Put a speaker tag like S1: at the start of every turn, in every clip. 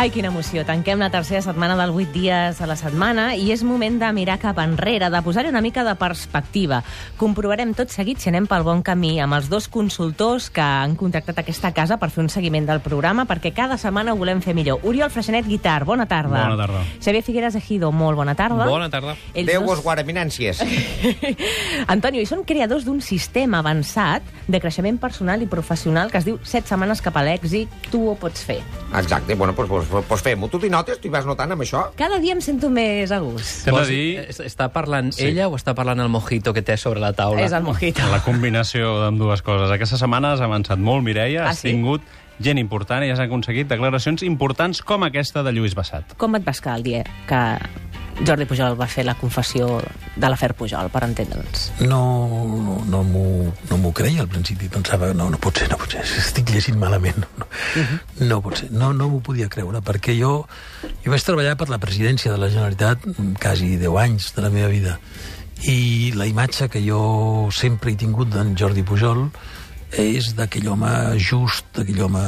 S1: Ai, quina emoció. Tanquem la tercera setmana del 8 dies a la setmana i és moment de mirar cap enrere, de posar-hi una mica de perspectiva. Comprovarem tot seguit si anem pel bon camí amb els dos consultors que han contractat aquesta casa per fer un seguiment del programa, perquè cada setmana ho volem fer millor. Oriol Freixenet Guitar, bona tarda.
S2: Bona tarda.
S1: Xavier Figueres Ejido, molt bona tarda.
S2: Bona tarda.
S1: Ells
S3: Déu
S1: dos-
S3: vos guarda minàncies.
S1: Antonio, i són creadors d'un sistema avançat de creixement personal i professional que es diu 7 setmanes cap a l'èxit, tu ho pots fer.
S3: Exacte, bueno, doncs, doncs, doncs fem-ho. Tu t'hi notes, t'hi vas notant amb això?
S1: Cada dia em sento més a gust.
S2: Hem de
S4: Vols-
S2: dir
S1: Eh,
S4: es- Està parlant sí. ella o està parlant el mojito que té sobre la taula?
S1: És el mojito.
S2: la combinació d'ambdues coses. Aquesta setmana has avançat molt, Mireia,
S1: Ah,
S2: has
S1: sí?
S2: tingut gent important i has aconseguit declaracions importants com aquesta de Lluís Bassat.
S1: Com et vas quedar el dia que Jordi Pujol va fer la confessió de l'afer Pujol, per entendre'ns?
S5: No, no, m'ho- no m'ho creia al principi. Pensava, no, no pot ser, no pot ser, estic llegint malament. No, no pot ser, no, no m'ho podia creure, perquè jo, jo vaig treballar per la presidència de la Generalitat mm, quasi 10 anys de la meva vida. I la imatge que jo sempre he tingut d'en Jordi Pujol és d'aquell home just, d'aquell home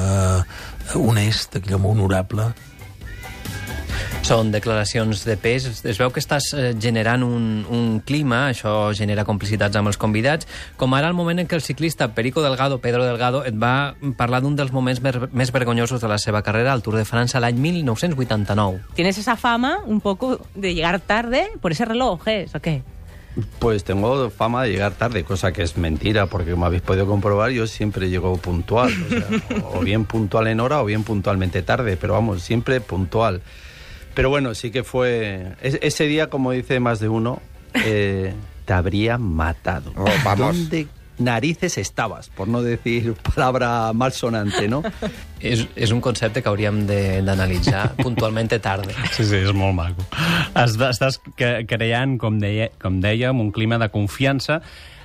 S5: honest, d'aquell home honorable,
S4: Són declaracions de pes. Es veu que estàs eh, generant un, un clima, això genera complicitats amb els convidats, com ara el moment en què el ciclista Perico Delgado, Pedro Delgado, et va parlar d'un dels moments més, més vergonyosos de la seva carrera al Tour de França l'any 1989.
S1: Tienes esa fama, un poco, de llegar tarde por ese reloj, ¿eh? ¿O qué?
S6: Pues tengo fama de llegar tarde, cosa que es mentira, porque como habéis podido comprobar, yo siempre llego puntual. O, sea, o bien puntual en hora o bien puntualmente tarde, pero vamos, siempre puntual. Pero bueno, sí que fue. es- ese día, como dice más de uno, eh, te habría matado.
S3: Oh, vamos.
S6: ¿Dónde narices estabas? Por no decir palabra malsonante, ¿no?
S4: És, és un concepte que hauríem de- d'analitzar puntualment tarda.
S2: Sí, sí, és molt maco. Es, estàs cre- creant, com, deia, com dèiem, un clima de confiança,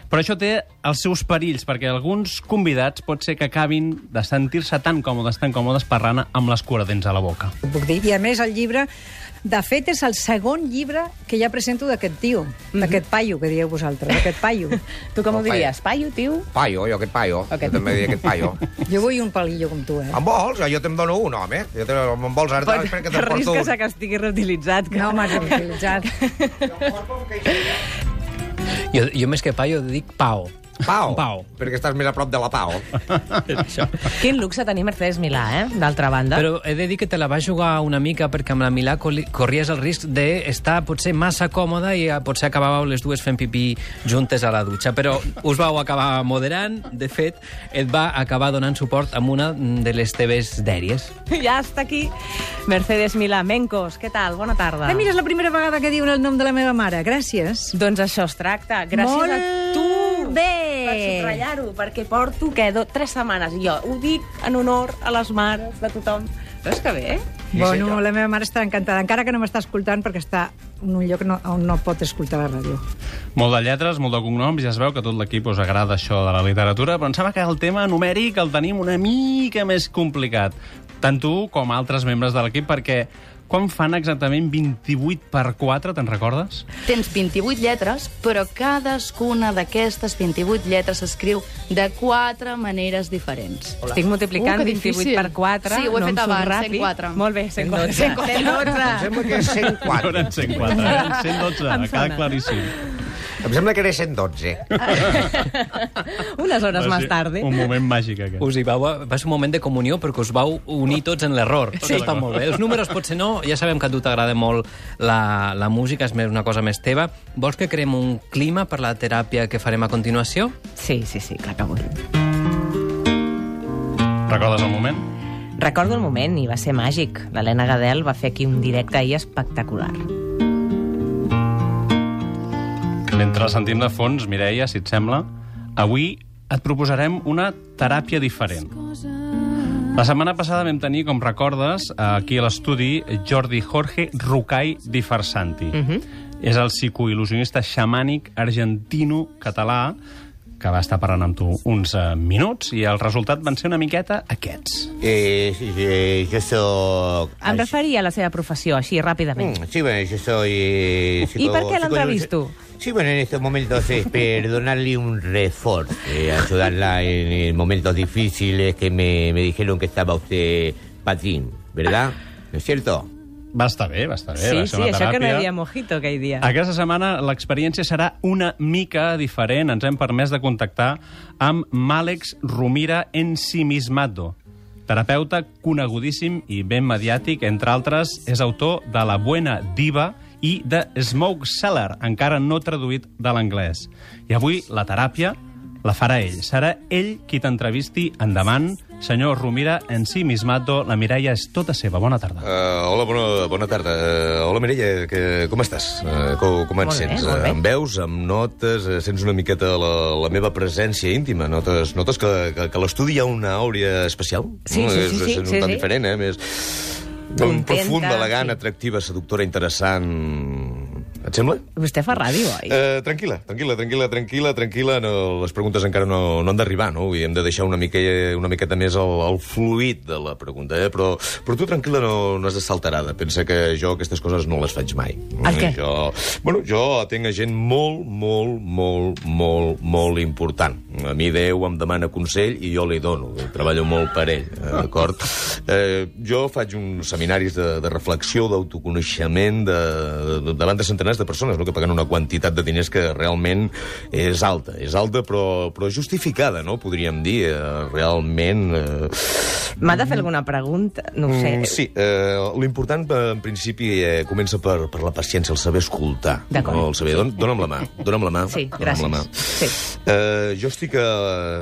S2: però això té els seus perills, perquè alguns convidats pot ser que acabin de sentir-se tan còmodes, tan còmodes, parlant amb les curadents a la boca.
S7: Ho puc dir. I a més el llibre, de fet, és el segon llibre que ja presento d'aquest tio, d'aquest paio que dieu vosaltres, d'aquest paio.
S1: Tu com ho
S3: Ok.
S1: diries? Paio, tio?
S3: Paio, jo aquest paio.
S1: Aquest.
S3: Jo també diria aquest paio.
S7: Jo vull un palillo com tu, eh?
S3: Em vols? Jo te'n dono un, home. Jo te, em vols ara, Pot, espera que te'n porto un.
S1: Risques a que estigui reutilitzat. Que...
S7: No m'has utilitzat.
S4: Jo, jo més que paio dic pao.
S3: Pau.
S2: Pau.
S3: Perquè estàs més a prop de la Pau.
S1: Quin luxe tenir Mercedes Milà, eh? D'altra banda.
S4: Però he de dir que te la vas jugar una mica perquè amb la Milà coli- corries el risc d'estar potser massa còmoda i eh, potser acabàveu les dues fent pipí juntes a la dutxa. Però us vau acabar moderant. De fet, et va acabar donant suport amb una de les teves dèries.
S1: Ja està aquí Mercedes Milà. Mencos, què tal? Bona tarda.
S7: Ah, mira, és la primera vegada que diuen el nom de la meva mare. Gràcies.
S1: Doncs això es tracta. Gràcies
S7: Molt
S1: a tu per
S7: bé.
S1: subratllar-ho, perquè porto, què, do, tres setmanes. I Jo ho dic en honor a les mares de tothom. Veus que bé? eh?
S7: Bueno, la meva mare està encantada, encara que no m'està escoltant perquè està en un lloc no, on no pot escoltar la ràdio.
S2: Molt de lletres, molt de cognoms, ja es veu que a tot l'equip us agrada això de la literatura, però em sembla que el tema numèric el tenim una mica més complicat, tant tu com altres membres de l'equip, perquè quan fan exactament 28 per 4, te'n recordes?
S8: Tens 28 lletres, però cadascuna d'aquestes 28 lletres s'escriu de quatre maneres diferents.
S1: Hola. Estic multiplicant
S8: Uh, que
S1: 28
S8: difícil.
S1: per 4.
S8: Sí, ho he
S1: no em
S8: fet
S1: surt
S8: abans,
S1: ràpid.
S8: 104.
S1: Molt bé, 104. 104.
S3: Em sembla que és
S2: No
S3: 104.
S2: eren 104, eren 112,
S1: Em
S2: em
S1: sona.
S2: eh? queda claríssim.
S3: Em sembla que era 112.
S1: Unes
S2: Va
S1: hores
S2: ser
S1: més tard. eh?
S2: Un moment màgic, aquest.
S4: Us hi vau, va ser un moment de comunió perquè us vau unir tots en l'error. Sí. Està molt bé. Els números potser no, ja sabem que a tu t'agrada molt la, la música, és més una cosa més teva. Vols que creem un clima per la teràpia que farem a continuació?
S1: Sí, sí, sí, clar que vull.
S2: Recordes el moment?
S1: Recordo el moment i va ser màgic. L'Helena Gadel va fer aquí un directe ahir espectacular.
S2: Mentre sentim de fons, Mireia, si et sembla, avui et proposarem una teràpia diferent. La setmana passada vam tenir, com recordes, aquí a l'estudi Jordi Jorge Rucay Di Farsanti.
S1: Mhm.
S2: És el psicoil·lusionista xamànic argentino-català que va estar parlant amb tu uns eh, minuts i el resultat van ser una miqueta aquests.
S9: Eh, eh, yo soy...
S1: Em referia a la seva professió, així, ràpidament.
S9: Mm, Sí, bueno, yo soy... eh,
S1: ¿Y por qué la
S9: psicoilusi-
S1: entrevistó?
S9: Sí, bueno, en estos momentos es perdonarle un refor, eh, ayudarla en, eh, momentos difíciles que me, me dijeron que estaba usted patín, ¿verdad? ¿No es cierto?
S2: Va estar bé, va estar bé.
S1: Sí,
S2: va
S1: sí,
S2: ser una
S1: això que no hi
S2: Eh, teràpia.
S1: havia mojito aquell dia.
S2: Aquesta setmana l'experiència serà una mica diferent. Ens hem permès de contactar amb Màlex Rumira Ensimismato, terapeuta conegudíssim i ben mediàtic. Entre altres, és autor de La Buena Diva i de Smoke Seller, encara no traduït de l'anglès. I avui la teràpia la farà ell. Serà ell qui t'entrevisti endavant. Senyor Rumira Ensimismato, la Mireia és tota seva. Bona tarda.
S10: Uh, hola, bona, bona tarda. Uh, hola, Mireia, que, com estàs? Uh, com, com et
S1: Molt bé,
S10: sents?
S1: molt bé.
S10: em veus, em notes, eh, sents una miqueta la, la meva presència íntima? Notes, notes que, que, que a l'estudi hi ha una àurea especial?
S1: Sí, sí, sí,
S10: És,
S1: sí,
S10: és un
S1: sí,
S10: tant
S1: sí.
S10: diferent, eh? Més...
S1: Contenta,
S10: profunda, elegant,
S1: sí.
S10: atractiva, seductora, interessant... Et sembla?
S1: Vostè fa ràdio, oi?
S10: Eh, tranquil·la, tranquil·la, tranquil·la, tranquil·la, tranquil·la. No, les preguntes encara no, no han d'arribar, no? I hem de deixar una, mica, una miqueta més el, el fluid de la pregunta, eh? Però, però tu tranquil·la no, no has d'estar alterada. Pensa que jo aquestes coses no les faig mai.
S1: El què?
S10: Jo, bueno, jo atenc a gent molt, molt, molt, molt, molt important. A mi Déu em demana consell i jo li dono. Treballo molt per ell, eh, d'acord? Eh, jo faig uns seminaris de, de reflexió, d'autoconeixement de, de, davant de centenars de persones, no? que paguen una quantitat de diners que realment és alta. És alta, però, però justificada, no? podríem dir. Eh, realment... Eh,
S1: M'ha de fer alguna pregunta? No ho sé.
S10: Mm, sí, eh, l'important eh, en principi eh, comença per, per la paciència, el saber escoltar.
S1: D'acord.
S10: No? El saber, don, dona'm la mà, dona'm la mà.
S1: Sí,
S10: dona'm
S1: gràcies.
S10: La mà.
S1: Sí.
S10: Eh, jo estic a,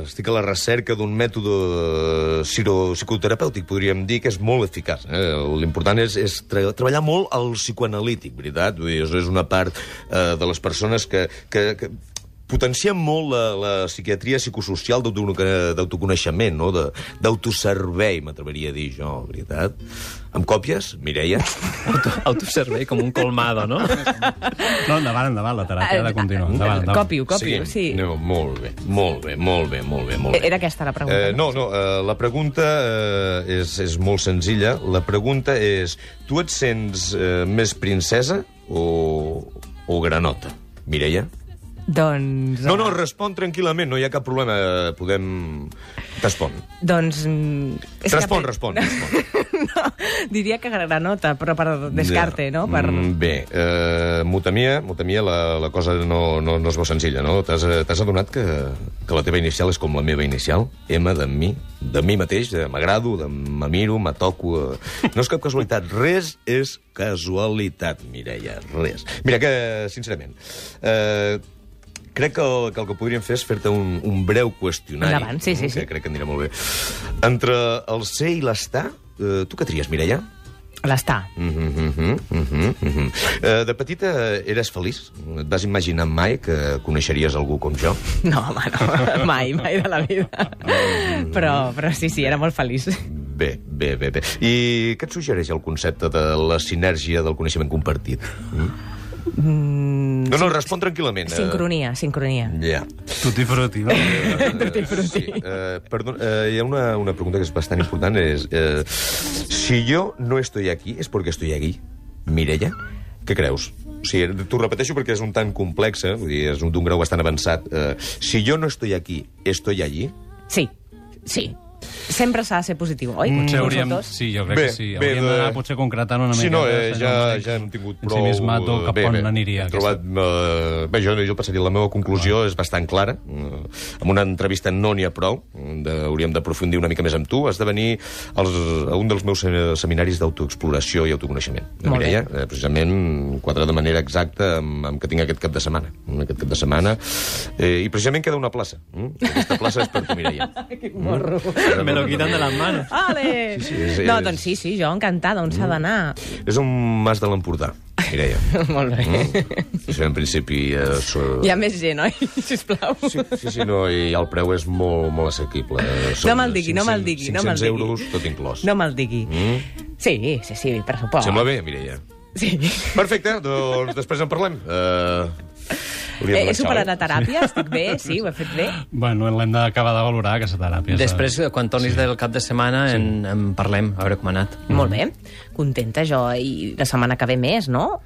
S10: estic a la recerca d'un mètode siro, psicoterapèutic, podríem dir, que és molt eficaç. Eh? L'important és, és tre treballar molt el psicoanalític, veritat? Vull dir, és- és una part eh, de les persones que... que, que potencien molt la, la psiquiatria psicosocial d'autocono- d'autoconeixement, no? De- d'autoservei, m'atreviria a dir jo, veritat. Em còpies, Mireia?
S4: Auto, autoservei com un colmado, no?
S2: No, endavant, endavant, la teràpia
S1: Eh,
S2: ha de continuar. Endavant, endavant.
S1: Còpio, còpio, Ah, sí. E-,
S10: No, molt bé, molt bé, molt bé, molt bé. Molt bé.
S1: Era aquesta la pregunta.
S10: Eh, no, no, eh, la pregunta eh, és, és molt senzilla. La pregunta és, tu et sents eh, més princesa o, o granota, Mireia?
S1: Doncs...
S10: No, no, respon tranquil·lament, no hi ha cap problema. eh, Podem... Respon.
S1: Doncs... mm, és que-
S10: Respon, respon, respon.
S1: No, diria que granota, però per descarte, no? Per...
S10: Mm, Bé, eh, motamia, motamia la, la cosa no, no, no es veu senzilla, no? T'has eh, t'has adonat que, que la teva inicial és com la meva inicial? M de mi, de mi mateix, de m'agrado, de me miro, me toco... eh. No és cap casualitat, res és casualitat, Mireia, res. Mira que, sincerament, eh, crec que el que, el que podríem fer és fer-te un, un breu qüestionari.
S1: Endavant, sí, sí, sí.
S10: Que crec que anirà molt bé. Entre el ser i l'estar, eh, tu què tries, Mireia?
S1: L'està.
S10: Mhm, mhm, mhm, mhm. Eh, De petita eh, eres feliç? Et vas imaginar mai que coneixeries algú com jo?
S1: No, home, no. Mai, mai de la vida.
S10: Mm.
S1: Però, però sí, sí, era molt feliç.
S10: Eh. Bé, bé, bé, bé. I què et suggereix el concepte de la sinergia del coneixement compartit? Mm, no, no, respon tranquil·lament. eh.
S1: Sincronia, sincronia.
S10: Ja.
S2: Tutti frutti, no?
S10: Eh, Sí. Eh, perdó, eh, hi ha una, una pregunta que és bastant important. És, eh, si jo no estoy aquí, és perquè estoy aquí. Mireia, què creus? O sigui, t'ho repeteixo perquè és un tant complex, eh? Vull dir, és un- d'un grau bastant avançat. Eh, si jo no estoy aquí, estoy allí?
S1: Sí, sí. Sempre s'ha de ser positiu, oi?
S10: Mm.
S2: Potser hauríem...
S1: Nosaltres?
S2: Sí, jo crec
S10: Bé,
S2: que sí.
S10: bé,
S2: Hauríem d'anar
S10: de-
S2: potser concretant una mica.
S10: Sí, no, eh,
S2: senyor
S10: ja,
S2: Màlex.
S10: ja n'hem tingut
S2: En
S10: prou...
S2: Si més mato,
S10: eh,
S2: cap
S10: bé,
S2: on
S10: bé.
S2: aniria
S10: Hem
S2: aquesta?
S10: Trobat, eh, bé, jo, jo passaria la meva conclusió, és bastant clara. Eh, amb una entrevista no n'hi ha prou. De, hauríem d'aprofundir una mica més amb tu. Has de venir als, a un dels meus se- seminaris d'autoexploració i autoconeixement. Eh,
S1: Molt bé.
S10: Mireia, eh, precisament quadra de manera exacta amb, amb que tinc aquest cap de setmana. Mm, Aquest cap de setmana. Eh, I precisament queda una plaça. Mm? Aquesta plaça és per tu, Mireia. Mm?
S1: Quin morro.
S4: Me lo quitan de las manos.
S1: Ale!
S10: Sí, sí, és- Mm.
S1: No,
S10: és-
S1: doncs sí, sí, jo encantada. On s'ha d'anar?
S10: És un mas de l'Empordà, Mireia.
S1: Molt bé.
S10: Això, en principi, eh, so-
S1: Hi ha més gent, oi? Sisplau.
S10: Sí, sí, sí, no, i el preu és molt, molt assequible. Eh, Són
S1: No me'l digui, no me'l digui, no me'l
S10: 500
S1: digui.
S10: euros, tot inclòs. Mm.
S1: No me'l digui. Sí, sí, sí, per supost.
S10: Sembla bé, Mireia?
S1: Sí.
S10: Perfecte, doncs després en parlem. Uh,
S1: Eh, He
S10: eh?
S1: superat la teràpia, estic bé, sí, ho he fet bé.
S2: Bueno, l'hem d'acabar de valorar, aquesta teràpia.
S4: Després, quan tornis sí. del cap de setmana, sí. en, en parlem, a veure com ha anat.
S1: Molt bé, contenta jo, i la setmana que ve més, no?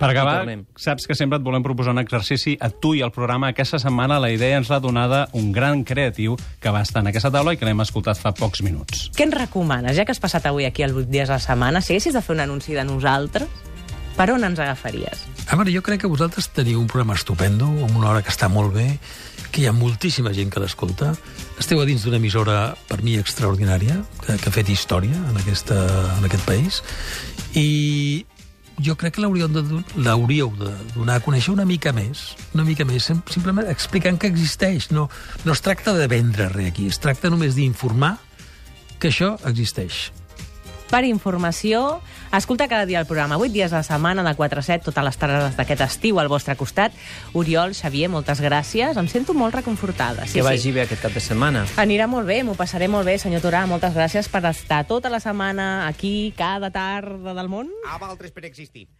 S2: Per acabar,
S4: I tornem.
S2: saps que sempre et volem proposar un exercici a tu i al programa. Aquesta setmana la idea ens l'ha donada un gran creatiu que va estar en aquesta taula i que l'hem escoltat fa pocs minuts.
S1: Què ens recomanes, ja que has passat avui aquí els 8 dies a la setmana, si haguessis de fer un anunci de nosaltres, per on ens agafaries?
S5: A veure, jo crec que vosaltres teniu un programa estupendo, amb una hora que està molt bé, que hi ha moltíssima gent que l'escolta. Esteu a dins d'una emissora, per mi, extraordinària, que, que ha fet història en, aquesta, en aquest país. I jo crec que l'hauríeu de, don- l'hauríeu de donar a conèixer una mica més, una mica més, sim- simplement explicant que existeix. No, no es tracta de vendre res aquí, es tracta només d'informar que això existeix.
S1: Per informació, escolta cada dia el programa, 8 dies a la setmana, de 4 a 7, totes les tardes d'aquest estiu al vostre costat. Oriol, Xavier, moltes gràcies. Em sento molt reconfortada.
S4: Sí, que vagi bé aquest cap de setmana.
S1: Anirà molt bé, m'ho passaré molt bé, senyor Torà. Moltes gràcies per estar tota la setmana aquí, cada tarda del món.
S9: A vosaltres per existir.